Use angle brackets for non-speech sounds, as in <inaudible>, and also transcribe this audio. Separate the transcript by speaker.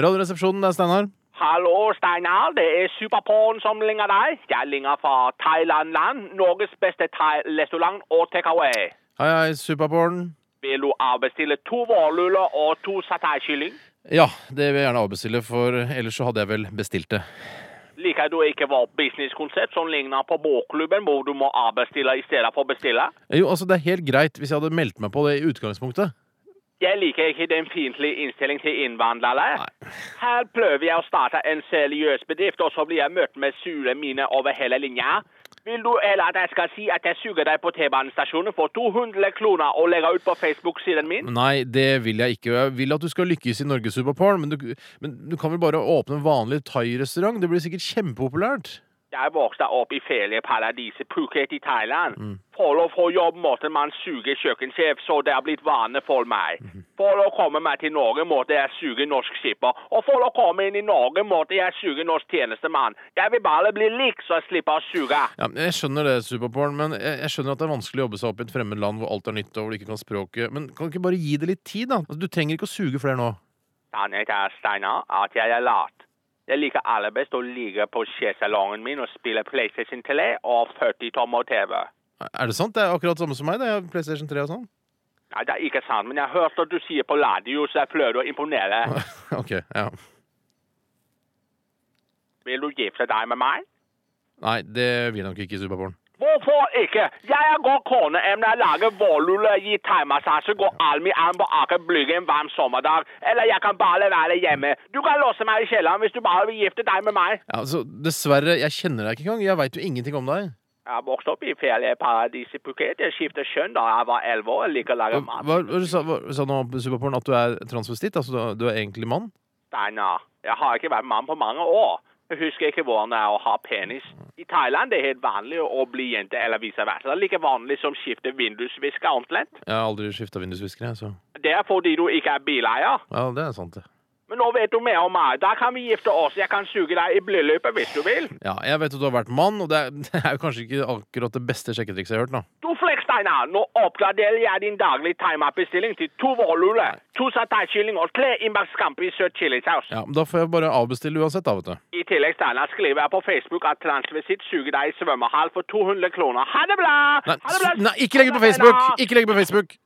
Speaker 1: Radioresepsjonen, det er Steinar.
Speaker 2: Hallo, Steinar. Det er Superporn som ringer deg. Jeg ringer fra Thailand-land, Norges beste thai-restaurant og takeaway.
Speaker 1: Hei, hei, Superporn.
Speaker 2: Vil du avbestille to vårluller og to satay-kylling?
Speaker 1: Ja, det vil jeg gjerne avbestille, for ellers så hadde jeg vel bestilt det.
Speaker 2: Liker du ikke vårt businesskonsept som ligner på bokklubben, hvor du må avbestille i stedet for bestille?
Speaker 1: Jo, altså, det er helt greit hvis jeg hadde meldt meg på det i utgangspunktet.
Speaker 2: Jeg liker ikke den fiendtlige innstillingen til innvandrere.
Speaker 1: Nei.
Speaker 2: Her prøver jeg å starte en seriøs bedrift, og så blir jeg møtt med sure miner over hele linja. Vil du eller at jeg skal si at jeg suger deg på T-banestasjonen for 200 kroner og legger ut på Facebook-siden min?
Speaker 1: Nei, det vil jeg ikke. Jeg vil at du skal lykkes i Norge, Superporn, men, du- men du kan vel bare åpne en vanlig thai-restaurant? Det blir sikkert kjempepopulært.
Speaker 2: Jeg vokste opp i ferieparadiset Phuket i Thailand. For å få jobb måtte man suge kjøkkensjef, så det har blitt vane for meg. For å komme meg til Norge måtte jeg suge norsk skipper, og for å komme inn i Norge måtte jeg suge norsk tjenestemann. Jeg vil bare bli lik, så jeg slipper å suge.
Speaker 1: Ja, men jeg skjønner det, Superporn, men jeg, jeg skjønner at det er vanskelig å jobbe seg opp i et fremmed land hvor alt er nytt og hvor du ikke kan språket, men kan du ikke bare gi det litt tid, da? Altså, du trenger ikke å suge flere nå.
Speaker 2: Sannhet er, Steinar, at jeg er lat. Jeg liker aller best å ligge på skjesalongen min og spille PlayStation 3 og 40-tommer TV.
Speaker 1: Er det sant? Det er akkurat samme som meg, det. Jeg har PlayStation 3 og sånn. <laughs>
Speaker 2: Nei, det er ikke sant, men jeg hørte at du sier på radio, så jeg prøvde å imponere.
Speaker 1: ok, ja.
Speaker 2: Vil du gifte deg med meg?
Speaker 1: Nei, det vil jeg nok ikke, Superporn.
Speaker 2: Hvorfor ikke? Jeg er god koneemne, lager vårlulle, gir thaimassasje, går arm i arm på Aker Brygge en varm sommerdag. Eller jeg kan bare være hjemme. Du kan låse meg i kjelleren hvis du bare vil gifte deg med meg.
Speaker 1: Ja, altså, dessverre, jeg kjenner deg ikke engang. Jeg veit jo ingenting om deg.
Speaker 2: Jeg vokste opp i ferieparadiset Phuket. Jeg skiftet kjønn da jeg var 11 år. Jeg liker å lage
Speaker 1: Hva,
Speaker 2: mat.
Speaker 1: hva, hva sa, hva sa nå Superporn at du er transvestitt? Altså, du er, du er egentlig mann?
Speaker 2: Steinar, jeg har ikke vært mann på mange år. Jeg husker ikke hvordan det er å ha penis. I Thailand det er helt vanlig å bli jente eller vice versa. Det er like vanlig som skifte vindusvisker omtrent.
Speaker 1: Jeg har aldri skifta vindusviskere, jeg, så
Speaker 2: Det er fordi du ikke er bileier.
Speaker 1: Ja, det er sant, det.
Speaker 2: Men nå vet du mer om meg. Da kan vi gifte oss. Jeg kan suge deg i bryllupet hvis du vil.
Speaker 1: Ja, jeg vet at du har vært mann, og det er, <laughs> det er jo kanskje ikke akkurat det beste sjekketrikset jeg har hørt, da.
Speaker 2: Du flekk, Steinar. Nå oppgraderer jeg din daglige timeout-bestilling til to vårluller, to satai-kylling og tre innbakt scampi i søt chilisaus.
Speaker 1: Ja, men Da får jeg bare avbestille uansett, da, vet du.
Speaker 2: I tillegg, Steinar, skriver jeg på Facebook at transvisitt suger deg i svømmehall for 200 kroner. Ha det bra!
Speaker 1: Nei,
Speaker 2: ha det bra!
Speaker 1: s- nei ikke legg det på Facebook! Ikke legg det på Facebook!